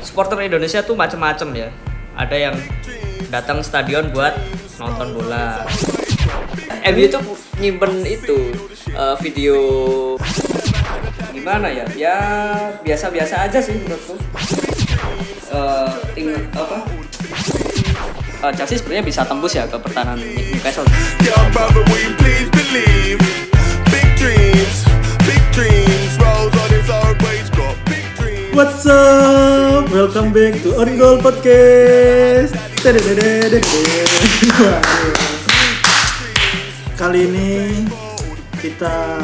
Supporter Indonesia tuh macem-macem ya. Ada yang datang stadion buat nonton bola. MU Eh, tuh nyimpen itu eh, video gimana ya? Ya biasa-biasa aja sih menurutku. Eh, tim apa? Eh, Chelsea sebenarnya bisa tembus ya ke pertahanan Newcastle. Yeah, brother, will you please believe? Big dreams, big dreams. Rolls on his own ways, got big dreams. What's up? Welcome back to On Goal Podcast. Tedededede. Waduh. Kali ini kita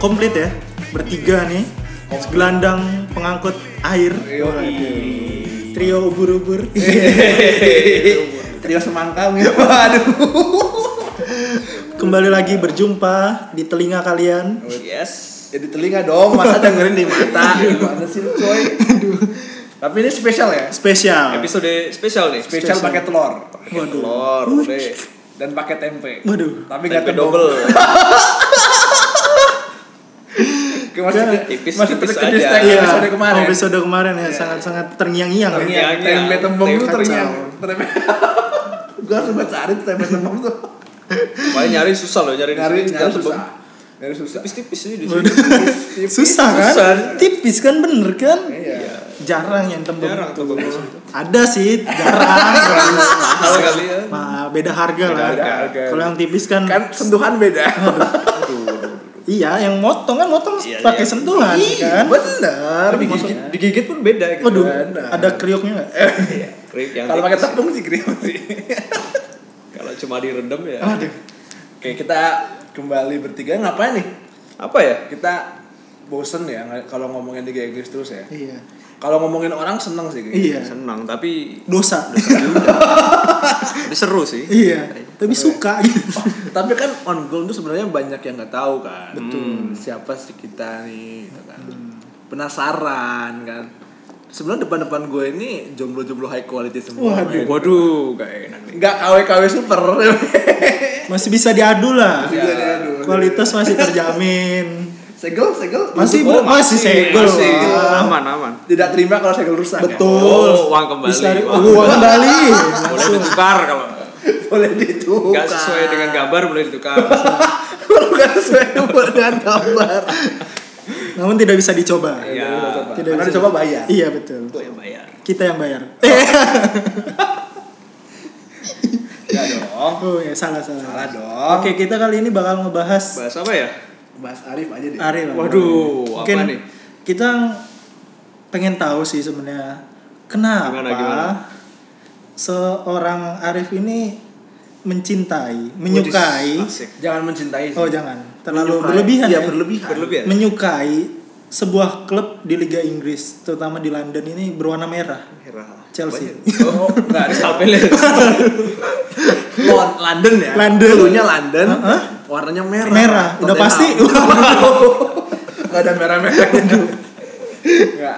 komplit ya, bertiga nih. Gelandang pengangkut air. Trio ubur-ubur. Trio semangka gitu. Waduh. Kembali lagi berjumpa di telinga kalian. Oh, Yes. Jadi telinga dong, masa dengerin di mata. Gimana sih lu, coy? Tapi ini spesial ya. Spesial. Episode spesial nih. Spesial pakai telur. Pakai Waduh. telur, Wuih. udah. Dan pakai tempe. Waduh. Tapi nggak Tempe tebel. double. Kayak Masih Iya. Tipis-tipis masih aja. tadi episode kemarin. Iya. episode kemarin ya sangat-sangat terngiang-ngiang. ya. Terngiang, Terngiang. iya, tempe tembem tuh Tempe terngiang. kacau. Tempe. Gua harus buat cari tuh tempe tembem tuh. Paling nyari susah loh nyari di Nyari sini. nyari Jangan susah. tebak. Nyari susah. Tipis-tipis sih di sini. Waduh. Susah kan? Susah. Tipis kan bener kan? Iya. jarang yang tembem Jarang itu. tuh bagus itu. ada sih jarang Mahal kali ya. Nah, beda harga lah Beda harga. kalau yang tipis kan, Kan sentuhan beda. iya yang motong kan motong Iya, pakai iya. sentuhan kan bener. Digigit- digigit pun beda gitu. Iya, waduh ada kriuknya nggak Krip yang Kalau pakai tipis. tepung sih krim sih. Kalau cuma direndam ya. Waduh. Oke, kita kembali bertiga ngapain nih? Apa ya? Kita bosen ya nggak- kalau ngomongin Liga Inggris terus ya. iya Kalau ngomongin orang seneng sih. iya kayaknya. Senang tapi dosa tapi seru sih. iya tapi suka gitu Tapi kan on goal itu sebenarnya banyak yang nggak tahu kan. Betul. Siapa sih kita nih? gitu kan. Hmm. Penasaran kan. Sebenarnya depan-depan gue ini jomblo-jomblo high quality semua. Waduh. Waduh, gak enak nih. Nggak KW-KW super. masih bisa diadu lah Iya, diadu. kualitas masih terjamin segel, segel. masih ber- masih segel masih. Wah. Aman, aman. Tidak terima kalau segel rusak. ya? betul Oh, uang kembali. bisa di- Uang. uang kembali Boleh ditukar kalau Boleh ditukar. nggak sesuai dengan gambar boleh ditukar. Kalau nggak sesuai umur dan gambar. namun tidak bisa dicoba Iya. Tidak Karena bisa. dicoba bayar. iya betul Gue yang bayar. kita yang Oh. bayar Iya Ya dong. Oh ya salah salah. Salah dong. Oke kita kali ini bakal ngebahas Bahas apa ya? Bahas Arif aja deh. Ari lah. Waduh, apa nih? Kita pengen tahu sih sebenarnya kenapa Gimana, gimana? seorang Arif ini mencintai, menyukai. Wudis, Asik. Jangan mencintai. sih. Oh jangan terlalu Menyukai. berlebihan Iya, ya. berlebihan. Berlebihan. Menyukai sebuah klub di Liga Inggris, terutama di London ini berwarna merah. Chelsea. Oh, enggak ada. Sampai lihat. Lon- London ya. London. Dulunya London. Heeh. Warnanya merah. Merah, udah Tottenham. pasti. Enggak ada merah-merahnya. Enggak.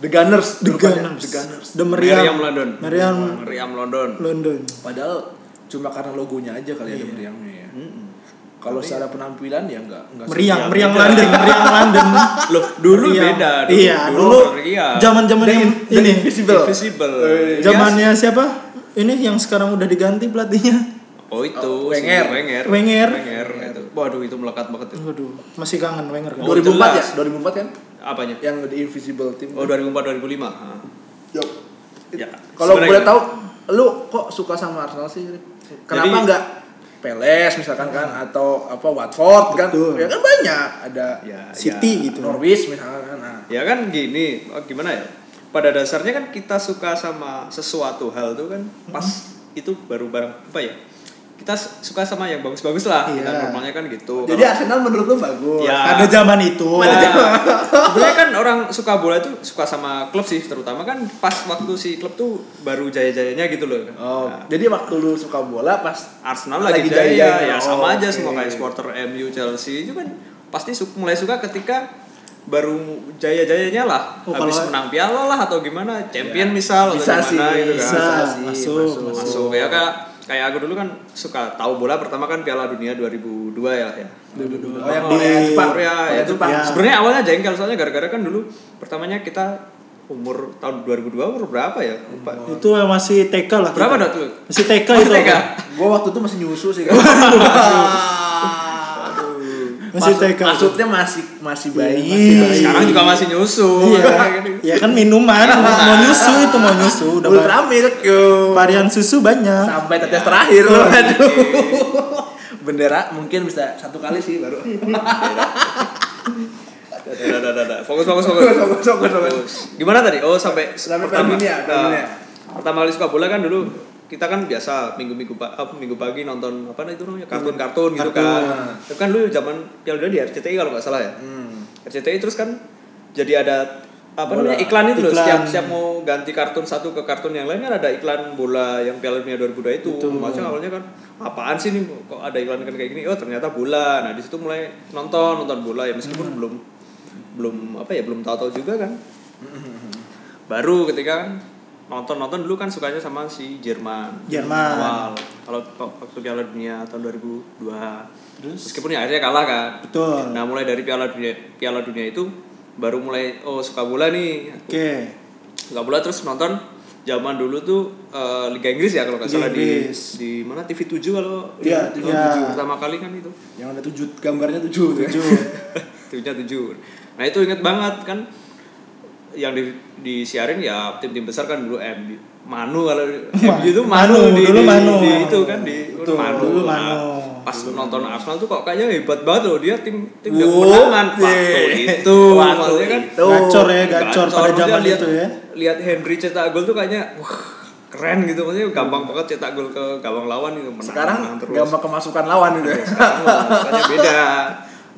The Gunners. The rupanya. Gunners. The Gunners. The Meriam. Meriam London. Meriam Meriam London. London. Padahal cuma karena logonya aja kali Iya. ada meriamnya ya. Kalau secara penampilan ya enggak enggak Meriang, Iya, meriang beda. London, meriang London. Loh, dulu Meriang. beda. iya, dulu zaman-zaman The yang in- the ini invisible. Invisible. Eh, zamannya siapa? Ini yang sekarang udah diganti pelatihnya. Oh itu, Oh, si Wenger. Wenger. Wenger. Wenger, itu. Waduh itu melekat banget itu. Waduh, masih kangen Wenger kan. Oh, 2004 ya? jelas. 2004 kan? Apanya? Yang The Invisible Team. Oh 2004 2005. Ah. Yo. Ya. Kalau Sebenarnya boleh gimana? tahu, lu kok suka sama Arsenal sih? Rip? Kenapa Jadi- enggak Peles misalkan kan atau apa Watford kan? Betul. Ya kan banyak ada Ya, City ya. gitu. Norwich misalkan kan. Nah, Ya kan gini, oh, gimana ya? Pada dasarnya kan kita suka sama sesuatu hal tuh kan pas itu baru barang apa ya? Kita s- suka sama yang bagus-bagus lah. Iya. Kita normalnya kan gitu. Jadi Arsenal menurut lu bagus. Ya. Pada zaman itu. Nah, sebenarnya kan orang suka bola itu suka sama klub sih terutama kan pas waktu si klub tuh baru jaya-jayanya gitu loh. Oh, Nah, jadi waktu lu suka bola pas Arsenal Lagi lagi, jaya, jaya-jayanya. ya Oh, sama aja oke. semua kayak supporter MU Chelsea itu kan pasti su- mulai suka ketika baru jaya-jayanya lah Oh, habis kalau- menang piala lah atau gimana champion misal bisa atau sih, gimana gitu kan bisa. Masuk, masuk ya kayak kayak aku dulu kan suka tahu bola pertama kan Piala Dunia 2002 ya lah ya Oh, yang Oh, di ya, Jepang. Korea ya, Jepang. Jepang. Ya. Sebenarnya awalnya jengkel soalnya gara-gara kan dulu pertamanya kita umur tahun 2002 umur berapa ya? Lupa. Itu masih TK lah. Berapa, kita. Dot, lu? Masih TK Masih itu. TK? Gua waktu itu masih nyusu sih kan. Masih Maksud- TK. Maksudnya masih masih Iya, bayi. masih bayi. Sekarang juga masih nyusu. Gitu. Iya. ya kan minuman mau nyusu itu mau nyusu udah Ultra ba- milk yo. varian susu banyak. Sampai tetes terakhir loh. Aduh. Bendera mungkin bisa satu kali sih baru. Dah, dah, dah, dah. Fokus, fokus, fokus. Fokus, fokus, fokus. Gimana tadi? Oh, sampai Sampai pertama. Piala Dunia, Piala eh, Dunia. pertama kali suka bola kan dulu kita kan biasa minggu-minggu pa- apa, minggu pagi nonton apa itu namanya kartun-kartun gitu kan. Tapi kan lu zaman Piala Dunia di RCTI kalau nggak salah ya. RCTI terus kan jadi ada apa Bola. namanya iklan itu loh Iklan. setiap setiap mau ganti kartun satu ke kartun yang lain kan ada iklan bola yang Piala Dunia 2002 itu maksudnya awalnya kan apaan sih nih kok ada iklan iklan kayak gini oh ternyata bola nah di situ mulai nonton nonton bola ya Hmm. meskipun belum belum apa ya belum tahu-tahu juga kan Hmm. baru ketika kan nonton nonton dulu kan sukanya sama si Jerman Jerman. awal kalau waktu Piala Dunia tahun 2002 meskipun ya akhirnya kalah kan Betul. Nah mulai dari Piala Dunia Piala Dunia itu baru mulai oh suka bola nih Oke. suka bola terus nonton zaman dulu tuh eh, Liga Inggris ya kalau nggak Liga salah di Inggris. di mana TV 7 kalau Iya, TV iya. 7 pertama kali kan itu Yang ada tujuh gambarnya tujuh. gitu ya. Tujuh. TV-nya 7 nah itu inget banget kan yang di disiarin ya tim-tim besar kan dulu MU Manu kalau MU itu Manu, Manu, di, dulu di- Manu. di itu kan di Betul, dulu Manu. Nah, pas nonton Arsenal tuh kok kayaknya hebat banget loh dia tim tim yang Wuh, kemenangan waktu iya. itu Waktu maksudnya kan itu. Tuh. Gacor ya, gacor pada Maksudnya zaman lihat- itu ya. lihat Henry cetak gol tuh kayaknya wah keren gitu maksudnya gampang banget cetak gol ke gawang lawan gitu menang, menang Sekarang terus. gampang kemasukan lawan gitu. Sekarang mah rasanya beda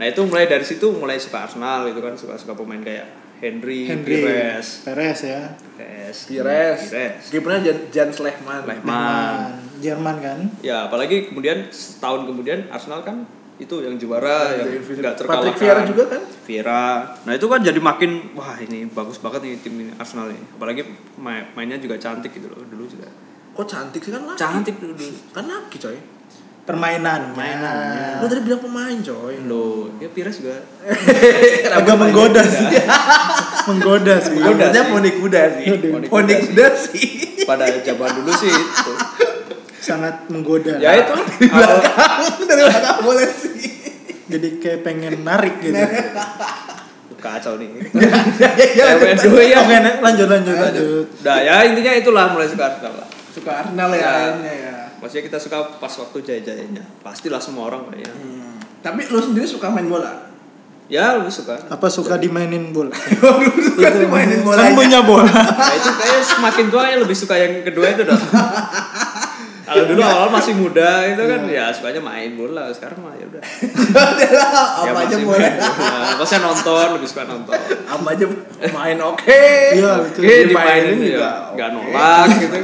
nah itu mulai dari situ mulai suka Arsenal gitu kan suka suka pemain kayak Henry, Henry Pires Perez ya. Pires Pires. Pires Kipernya Jan- Jens Lehmann. Lehmann Ah, Jerman kan. ya apalagi kemudian setahun kemudian Arsenal kan itu yang juara yang nggak terkalahkan Patrick Vieira juga kan? Vieira nah itu kan jadi makin wah ini bagus banget nih tim ini Arsenal ini apalagi main- mainnya juga cantik gitu loh dulu juga Kok cantik sih kan laki? cantik dulu Kan laki coy. Permainan. Permainan, Ya. Lu tadi bilang pemain coy. loh ya Pires juga Agak menggoda sih. menggoda sih. Menggoda. Sebenarnya poni kuda sih. Poni kuda Poni sih. kuda sih. pada zaman dulu sih itu Sangat menggoda. ya itu awal- Dari mana boleh sih? Jadi kayak pengen narik gitu. kacau nih Iya, Ya Pengen dulu ya Oke, na- lanjut lanjut lanjut. nah ya intinya itulah mulai suka Arsenal lah Suka Arsenal ya Ya. akhirnya ya. maksudnya kita suka pas waktu jaya-jayanya pastilah semua orang kayaknya Hmm. Tapi lu sendiri suka main bola? ya lu suka Apa suka dimainin bola? Waduh, suka sih mainin bola. Kan punya bola. Nah, itu kayaknya semakin tua ya lebih suka yang kedua itu dong. Kalau dulu awal masih muda itu kan Iya. ya sukanya main bola, sekarang mah ya udah. Ya Apa aja masih boleh. main bola. Maksudnya nonton lebih suka nonton. Apa aja main oke. Iya, betul. Oke, dimainin juga nggak nolak gitu.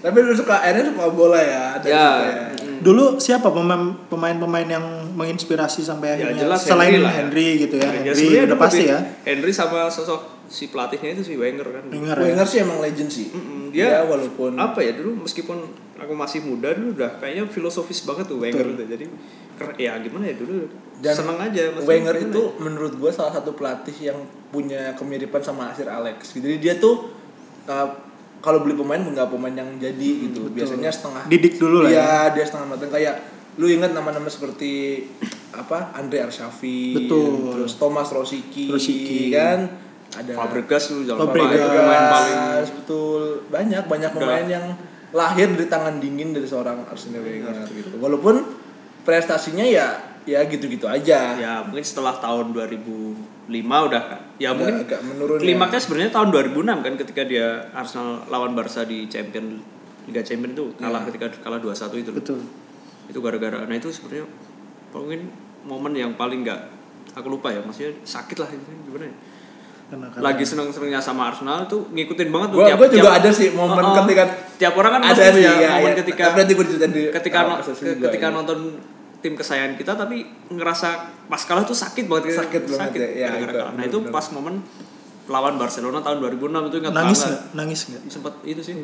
Tapi lu suka akhirnya suka bola ya. ada Ya. suka mm. Dulu siapa pemain- pemain-pemain yang menginspirasi sampai Ya akhirnya jelas selain Henry, Henry lah ya. Iya, gitu ya. Henry sebenarnya udah dulu pasti di- ya. Henry sama sosok si pelatihnya itu si Wenger kan. Dengar ya. Wenger sih emang legend sih. Mm-mm, Dia dia walaupun apa ya dulu meskipun aku masih muda dulu udah kayaknya filosofis banget tuh Wenger tuh. Jadi keren- ya gimana ya dulu Dan seneng aja maksudnya Wenger gimana itu ya? menurut gue salah satu pelatih yang punya kemiripan sama Sir Alex. Jadi dia tuh uh, kalau beli pemain nggak pemain yang jadi gitu. Biasanya setengah. Didik dulu lah ya. Iya, dia setengah matang kayak lu ingat nama-nama seperti apa Andre Arshavi, Betul. terus Thomas Rosicki, Rosicki. kan ada ya? Fabregas lu jangan lupa Fabregas. itu pemain paling Fabregas, betul banyak banyak pemain yang lahir dari tangan dingin dari seorang Arsene Wenger gitu. Walaupun prestasinya ya ya gitu-gitu aja. ya mungkin setelah tahun 2005 udah kan ya Udah mungkin agak menurun ya. klimaksnya sebenarnya tahun 2006 kan ketika dia Arsenal lawan Barca di Champion Liga Champion itu kalah Iya. ketika kalah 2-1 itu loh. Betul. itu gara-gara nah itu sebenarnya mungkin momen yang paling nggak aku lupa ya maksudnya sakit lah itu gimana ya Karena kan lagi seneng-senengnya sama Arsenal tuh ngikutin banget tuh Gua- gua juga ada sih momen Oh, oh. ketika- tiap orang kan Ada pasti sih, punya iya, momen iya. ketika Tapi nanti gua diceritain di- ketika oh, no- prestasi ke- gua, ketika iya. nonton tim kesayangan kita tapi ngerasa pas kalah tuh sakit banget Sakit banget ya, iya, gara-gara itu, kalah. nah itu pas momen lawan Barcelona tahun 2006 itu ingat nangis banget nggak? Nangis nggak? sempat itu sih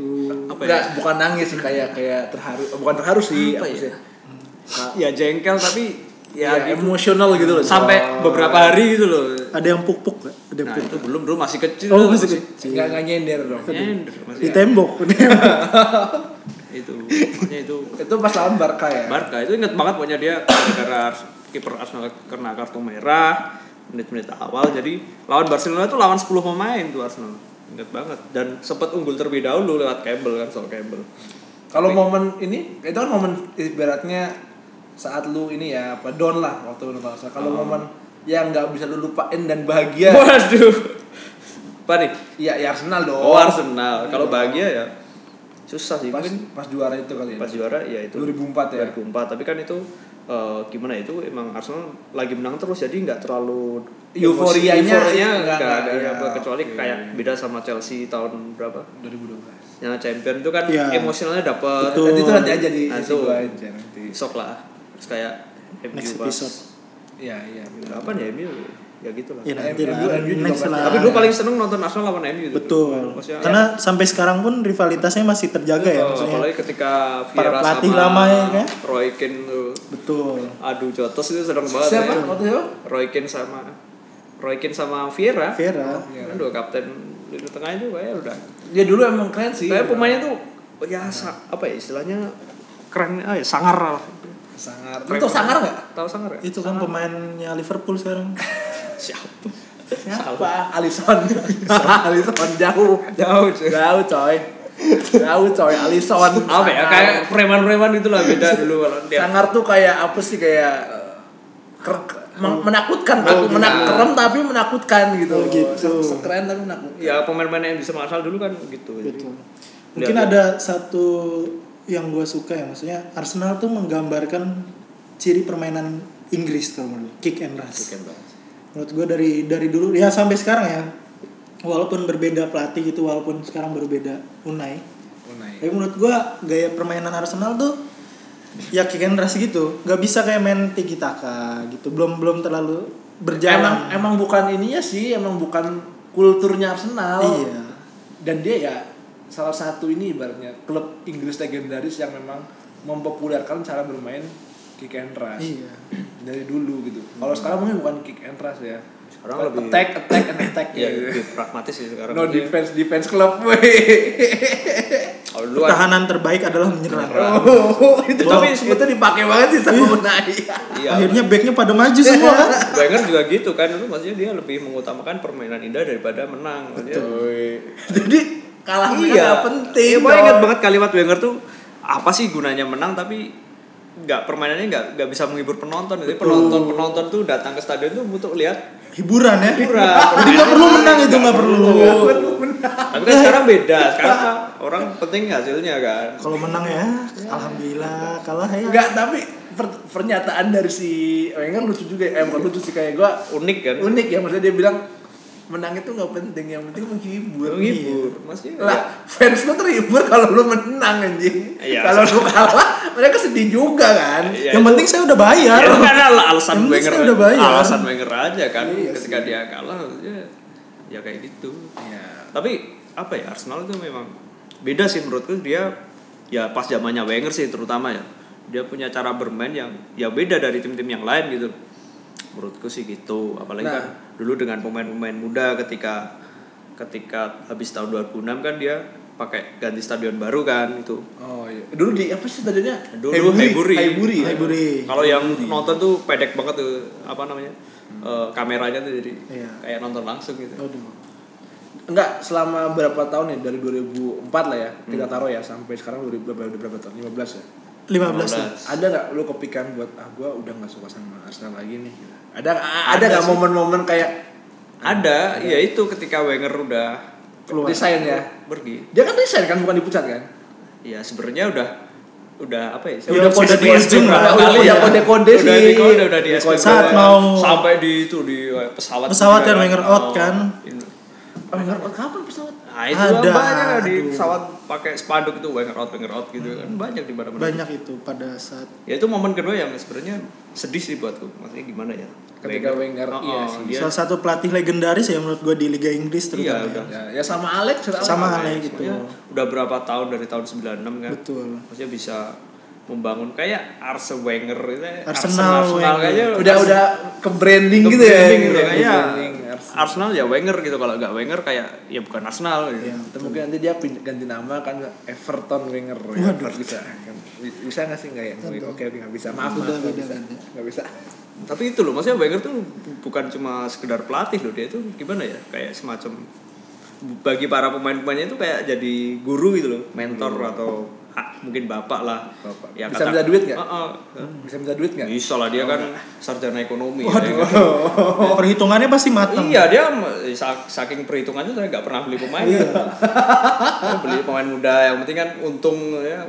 apa ya Nggak, bukan nangis eh, sih kayak kayak terharu, bukan terharu sih, Apa apa ya? sih? ya jengkel tapi ya, Ya, gitu. emosional gitu loh. sampai beberapa hari gitu loh. Ada yang puk-puk nggak? Ada yang Nah, puk-puk. itu belum bro masih kecil. Oh, tuh, masih kecil. Enggak enggak nyender dong. Nyender, masih Di tembok. itu. Pokoknya itu Itu pas lawan Barca ya. Barca itu inget banget pokoknya dia gara-gara Ars- kiper Arsenal kena kartu merah menit-menit awal jadi lawan Barcelona itu lawan 10 pemain tuh Arsenal inget banget dan sempat unggul terlebih dahulu lewat Campbell kan soal Campbell Kalau momen ini itu kan momen ibaratnya saat lu ini ya apa down lah waktu lu nonton Arsenal. Kalau momen yang nggak bisa lu lupain dan Eh. bahagia. Oh. waduh apa nih Iya, ya Arsenal dong. oh Arsenal kalau bahagia ya susah sih Pas, Iya, mungkin pas juara itu kali ya. pas juara ya itu 2004 ya? 2004 tapi kan itu eh, gimana ya, itu emang Arsenal lagi menang terus jadi nggak terlalu Euforianya- euforianya nggak- nggak nggak, ada apa, iya. kecuali Oke. kayak beda sama Chelsea tahun berapa 2012. yang champion itu kan Iya. emosionalnya dapat Betul. Nanti Eh, itu nanti aja di Nah, isi itu. gua aja nanti. sok lah terus kayak MU Next pas- episode. Iya, iya. benar. kapan ya MU ya gitu lah Ya nanti lah. MU juga Next pasti. lah. gitu, tapi gue paling seneng nonton Arsenal lawan MU tuh. Betul. Maksudnya- Karena sampai sekarang pun rivalitasnya masih terjaga ya Oh, maksudnya. apalagi ketika Para Vieira pelatih sama lama ya, kan? Roy Keane tuh Betul. aduh jotos itu sedang banget Siapa? ya. Waktu siapa? Roy Keane sama Roy Keane sama Vieira Vera. kan dua kapten di tengah juga ya udah Dia dulu emang keren sih. Tapi pemainnya tuh ya sa- apa ya istilahnya keren ah, ya, sangar lah sangar. Lu tau sangar enggak? tahu sangar ya? Itu kan pemainnya Liverpool sekarang. siapa Siapa? Alisson. Alisson jauh. Jauh, jauh coy. Jauh coy, Alisson. apa ya Sangar. kayak preman-preman itu lah beda dulu kalau dia sangar tuh kayak apa sih kayak eh, ker- men- menakutkan tuh. Oh. Menakutkan. menak kerem tapi menakutkan gitu. Oh, gitu. Keren tapi menakutkan. ya pemain-pemain yang bisa masal dulu kan gitu jadi Betul. Mungkin Lihat, ada satu yang gue suka ya maksudnya Arsenal tuh menggambarkan ciri permainan Inggris kalau menurut gue. kick and rush. kan, Menurut gue dari dari dulu ya sampai sekarang ya walaupun berbeda pelatih gitu walaupun sekarang berbeda Unai. Tapi menurut gue gaya permainan Arsenal tuh ya kick and rush gitu. Gak bisa kayak main tiki taka gitu. Belum belum terlalu Emang berjalan. emang bukan ininya sih, emang bukan kulturnya Arsenal. Iya. Dan dia ya salah satu ini ibaratnya klub Inggris legendaris yang memang mempopulerkan cara bermain kick and rush. Iya. Hmm. dari dulu gitu. Kalau sekarang mungkin bukan kick and rush ya. Sekarang But lebih- attack, attack, and attack ya gitu. lebih pragmatis sih sekarang No defense, defense club. weh. kalau dulu kan- Pertahanan terbaik adalah menyerang. Oh, itu tapi Tapi sebetulnya dipakai banget sih sama Unai. iya Akhirnya backnya pada maju semua kan. Wenger juga gitu kan dulu maksudnya dia lebih mengutamakan permainan indah daripada menang Maksudnya- Jadi kalah menang iya kan nggak penting. Iya, gua ingat dong. banget kalimat Wenger tuh apa sih gunanya menang tapi nggak permainannya nggak nggak bisa menghibur penonton jadi penonton penonton tuh datang ke stadion tuh untuk lihat hiburan ya Hiburan. Iya. jadi nggak perlu menang itu nggak perlu Iya. tapi kan sekarang beda sekarang mah orang penting hasilnya kan kalau menang ya alhamdulillah kalah ya Enggak, tapi per- pernyataan dari si Wenger lucu juga. ya. Eh, bukan lucu sih kayak gua unik kan unik ya maksudnya dia bilang menang itu nggak penting, yang penting menghibur. Iya. menghibur maksudnya lah fans lu terhibur kalau lu menang anjing Iya. kalau lu kalah mereka sedih juga kan Iya, yang itu- penting saya udah bayar ya, itu kan al- alasan Yang penting Wenger saya udah bayar. alasan Wenger aja kan Iya ketika dia kalah ya, ya kayak gitu tapi apa ya Arsenal itu memang beda sih menurutku dia ya pas zamannya Wenger sih terutama ya dia punya cara bermain yang ya beda dari tim-tim yang lain gitu menurutku sih gitu apalagi Nah. kan dulu dengan pemain-pemain muda ketika ketika habis tahun 2006 kan dia pakai ganti stadion baru kan itu oh iya dulu di apa sih tadinya Dulu Highbury. Highbury ya? Highbury. kalau yang nonton tuh pendek banget tuh apa namanya eh, kameranya tuh jadi Iya. kayak nonton langsung gitu Aduh. enggak selama berapa tahun ya dari 2004 lah ya kita taruh ya sampai sekarang udah berapa, udah berapa tahun 15 ya 15 ya 15. ada nggak lu kepikiran buat ah gua udah nggak suka sama Arsenal lagi nih gitu? ada a- ada Ada nggak sih. momen-momen kayak ada ya itu ketika Wenger udah Keluar. desain ya pergi dia kan desain kan bukan dipecat kan ya sebenarnya udah udah apa ya Udah kode saya- sudah di diatur ujung berapa lah, kali udah ya. kode-kode Udah sih. di kode, udah di Kode-kode. SPB. Saat mau- sampai di itu di eh, pesawat Pesawat juga kan Wenger out kan. Ini. oh Wenger oh, kapan pesawat nah itu Ada, ada. banyak lah di aduh. Hmm. pesawat pakai spanduk itu Wenger out Wenger out gitu kan banyak di mana-mana banyak itu pada saat ya itu momen kedua yang sebenarnya sedih sih buatku maksudnya gimana ya Ketika Wenger, Oh, iya oh, sih. dia salah satu pelatih legendaris ya menurut gue di Liga Inggris terutama Iya, ya. udah. ya, ya sama Alex Sama Alex. Alex. kayak gitu. maksudnya udah berapa tahun dari tahun 96 kan betul maksudnya bisa membangun kayak Arsene Wenger itu ya, Arsenal, Arsenal Wenger. kayaknya udah Ars- udah ke branding ke gitu ya branding gitu, Ke kayaknya branding. Arsenal ya Wenger gitu kalau nggak Wenger kayak ya bukan Arsenal gitu. Atau mungkin nanti dia pin- ganti nama kan Everton Wenger ya. bisa kan. bisa nggak sih nggak ya oke oke nggak bisa maaf Udah, maaf udah, nggak bisa udah. nggak bisa Tapi itu loh maksudnya Wenger tuh bu- bukan cuma sekedar pelatih loh dia itu gimana ya kayak semacam bagi para pemain-pemainnya itu kayak jadi guru gitu loh, mentor atau ah, mungkin bapak lah. Hmm. Bapak. Ya, Bisa kata- minta duit nggak? Heeh. bisa minta duit Iya. nggak Bisa lah dia kan sarjana ekonomi. ya, Waduh. ya kan? Perhitungannya pasti matang. Iya dia m- sa- saking perhitungannya saya nggak pernah beli pemain. Iya. Saya beli pemain muda yang penting kan untung ya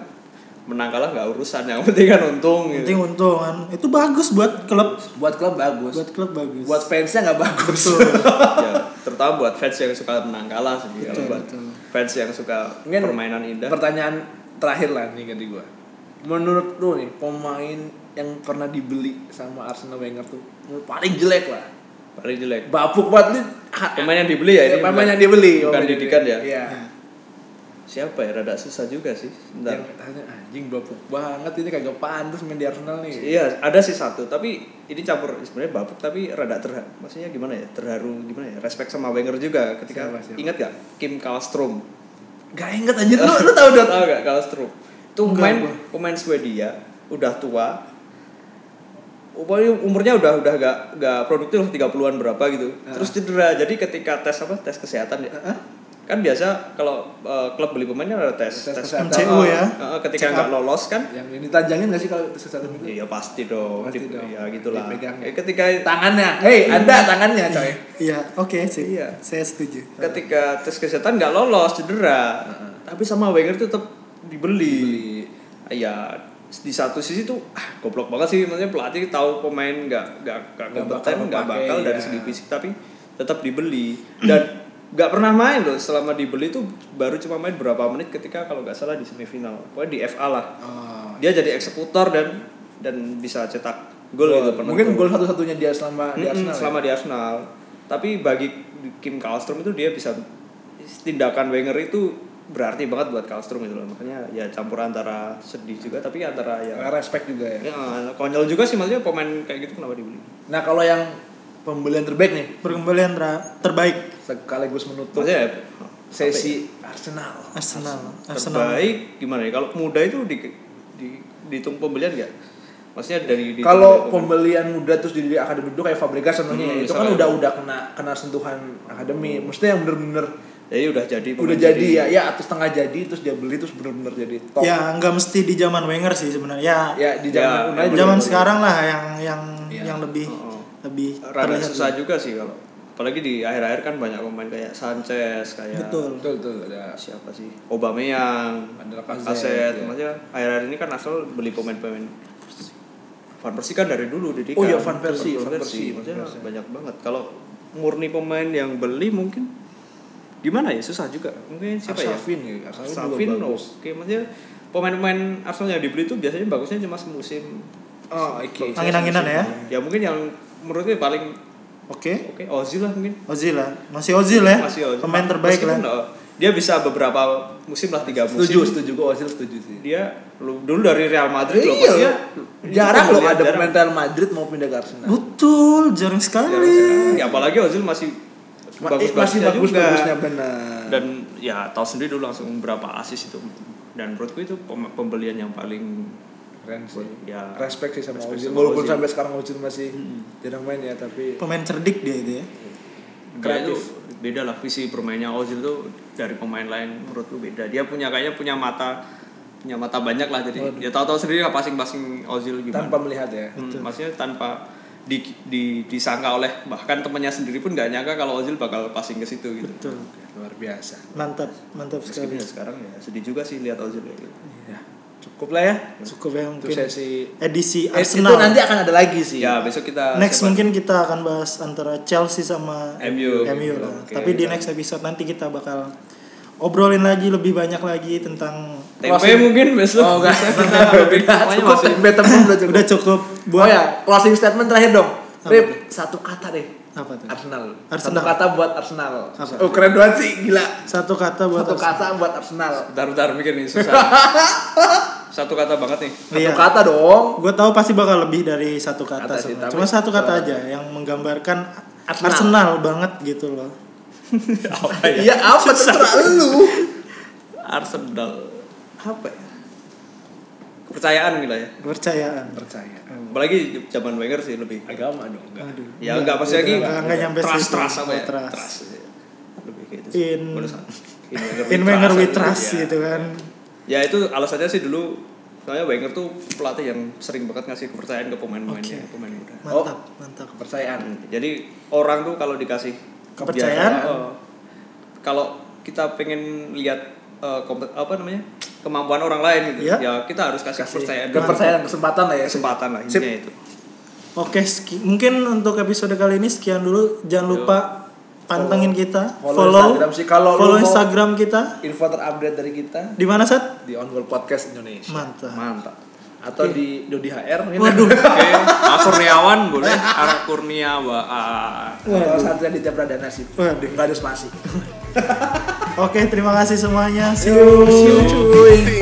menang kalah nggak urusan yang penting kan untung. Gitu. Penting untungan. Itu bagus buat klub. buat klub bagus Buat klub bagus. buat fansnya nggak bagus ya, terutama buat fans yang suka menang kalah sih. Kalau Betul, buat betul. fans yang suka Mungkin permainan indah. pertanyaan terakhir lah nih ganti gua menurut lu nih pemain yang pernah dibeli sama Arsenal Wenger tuh menurut paling jelek lah paling jelek. bapuk banget nih ha- Pemain yang dibeli ya, ini pemain bukan- yang dibeli bukan pemain yang didikan dibeli. ya? iya Siapa ya? Rada susah juga sih. Bentar. yang tanya anjing bapuk banget ini kagak pantas main di Arsenal nih Iya, ada sih satu, tapi ini campur sebenarnya babuk tapi rada terharu. Maksudnya gimana ya? Terharu gimana ya? Respect sama Wenger juga ketika Siapa, siapa? ingat gak Kim Kallstrom? Gak inget anjir Gitu. lu, lu tau dot Tahu gak Kallstrom? Itu Enggak, pemain gua. pemain Swedia, udah tua. Umurnya, umurnya udah udah gak gak produktif 30-an berapa gitu. Terus cedera. Jadi ketika tes apa? Tes kesehatan ya. Kan biasa kalau eh, klub beli pemainnya ada tes. Tes Eh, kesehatan. MCU ya. eh, ketika Check up. nggak lolos kan Yang ini tanjangin gak sih kalau sesatu itu? Iya pasti dong. Pasti Di- dong. Ya gitulah. Dipegang. Eh, ketika Tangannya, hei anda tangannya coy Iya, oke sih. Iya. Saya setuju. ketika tes kesehatan nggak lolos cedera. Tapi sama Wenger tuh tetap dibeli. Ya di satu sisi tuh ah, goblok banget sih maksudnya pelatih tahu pemain nggak nggak nggak Nggak bakal kompeten nggak memakai, bakal dari ya. segi fisik tapi tetap dibeli dan nggak pernah main loh selama dibeli tuh baru cuma main berapa menit ketika kalau nggak salah di semifinal pokoknya di FA lah Oh. dia jadi eksekutor dan dan bisa cetak gol gitu penentu. Mungkin gol satu-satunya dia selama di Mm-mm, Arsenal ya? selama di Arsenal. ya? Tapi bagi Kim Kallstrom itu dia bisa tindakan Wenger itu berarti banget buat Kallstrom itu loh. Makanya ya campur antara sedih juga tapi antara ya. ya, Respect juga ya ya konyol juga sih maksudnya pemain kayak gitu kenapa dibeli. Nah kalau yang pembelian terbaik nih Perkembalian tra- terbaik Sekaligus menutup Maksudnya ya, sesi Arsenal Arsenal. Arsenal. terbaik gimana ya? Kalau muda itu di, di dihitung pembelian nggak? Maksudnya dari dihitung dari Gitu. Kalau pemain. pembelian muda terus jadi akademi dulu kayak Fabregas contohnya Hmm, ya, itu kan misalnya. udah udah kena kena sentuhan akademi. Mesti yang bener-bener jadi Ya, udah jadi udah pemain jadi ya, ya atau setengah jadi terus dia beli terus bener-bener jadi top. Ya, nggak mesti di zaman Wenger sih sebenarnya. Ya, Ya, di zaman Ya, Unai juga zaman baru. sekarang lah yang yang yang lebih Oh. lebih rada terlihat. susah juga sih kalau apalagi di akhir-akhir kan banyak pemain kayak Sanchez kayak Betul. Betul betul ya. ada siapa sih Aubameyang, Van der Kazen, Lacazette, ya. maksudnya akhir-akhir ini kan asal beli pemain-pemain Van Persie kan dari dulu didikan. Oh iya, Van Persie, Van Van Persie, Persie, Van maksudnya Persie. banyak banget. Kalau murni pemain yang beli mungkin gimana ya susah juga. Mungkin siapa ya? Arshavin ya. Arshavin juga Safin bagus. oke, maksudnya pemain-pemain Arsenal yang dibeli itu biasanya bagusnya cuma semusim. Oh, oke. Angin-anginan ya. iya. Ya mungkin yang menurut gue paling Oke. oke Ozil lah mungkin. Ozil lah. Masih Ozil ya. Masih Ozil. Pemain terbaik Meskipun, lah. oh, Dia bisa beberapa musim lah tiga musim. Setuju, setuju gue Ozil setuju sih. dia lu- dulu dari Real Madrid loh Iya. maksudnya Jarang Itu kan ya, loh ada jarang. pemain Real Madrid mau pindah ke Arsenal. Betul, jarang sekali. ya apalagi Ozil masih Ma- bagus masih bagus juga bagusnya benar. dan ya tahu sendiri dulu langsung berapa asis itu dan menurutku itu pem- pembelian yang paling keren sih. Ya. Respect sih sama Respect Ozil. sama Walaupun Ozil. sampai sekarang Ozil masih jarang main ya, tapi Pemain cerdik dia itu ya. dia itu Kreatif. beda lah visi permainnya Ozil tuh dari pemain lain menurutku beda dia punya kayaknya punya mata punya mata banyak lah jadi dia tahu-tahu sendiri lah passing-passing Ozil gimana tanpa melihat ya. Hmm, maksudnya tanpa di, di- disangka oleh bahkan temannya sendiri pun nggak nyangka kalau Ozil bakal passing ke situ gitu. Betul. Luar biasa. Mantap, mantap Meskipun sekali. ya sekarang ya sedih juga sih lihat Ozil kayak gitu. Ya, cukup lah ya. Cukup ya Untuk mungkin sesi edisi Eh, Arsenal. Itu nanti akan ada lagi sih. Ya besok kita next siapa? mungkin kita akan bahas antara Chelsea sama MU. lah. Oke. Tapi di next episode nanti kita bakal obrolin lagi lebih banyak lagi tentang tempe mungkin besok. Oh, enggak. Pokoknya cukup masih- tempe temen udah cukup. udah cukup Oh buat ya, closing statement terakhir dong. Apa Rip, satu kata deh. apa tuh? Arsenal. Arsenal. Satu kata buat Arsenal. Apa? Oh, keren banget sih, gila. Satu kata buat Satu Arsenal. kata buat Arsenal. Bentar bentar mikir nih susah. Satu kata banget nih. Satu Iya. kata dong. Gue tahu pasti bakal lebih dari satu kata, Kata sih, sebenarnya. tapi- Cuma satu kata eh, aja yang menggambarkan Arsenal, Arsenal. banget gitu loh. Apa ya? Iya apa terserah lu. Arsenal. Apa ya? Kepercayaan gila ya. Kepercayaan. Percaya. Apalagi zaman Wenger sih lebih. Agama dong. enggak. Aduh. Ya enggak pasti lagi. Enggak enggak nyampe trust, situ. trust Oh, apa ya? trust. Trust. iya. Lebih kayak itu In- Boleh, San. In Wenger we aja, trust iya. gitu kan. Ya itu alasannya sih dulu soalnya Wenger tuh pelatih yang sering banget ngasih kepercayaan ke pemain-pemainnya, Oke. pemain muda. Oh. Mantap, mantap. Kepercayaan. Jadi orang tuh kalau dikasih Kepercayaan? kebiasaan, oh, kalau kita pengen lihat eh, kompe- apa namanya kemampuan orang lain gitu, Iya. ya kita harus kasih, kepercayaan, dulu. Kepercayaan kesempatan lah ya. kesempatan lah Sip. iya. intinya itu. Oke, seki- mungkin untuk episode kali ini sekian dulu. Jangan lupa pantengin kita, follow follow, Instagram sih. Kalau lu follow mau- Instagram kita. Info terupdate dari kita Di mana, Sat? di On World Podcast Indonesia Mantap. Mantap. atau di di HR mungkin. Iya. ya. Waduh. Oke, A. Kurniawan boleh, A. Kurniawa. Ah. A- Atau Waduh. Satria Ditya Pradana sih. Waduh. Gak ada spasi. Oke, terima kasih semuanya. See you. you. See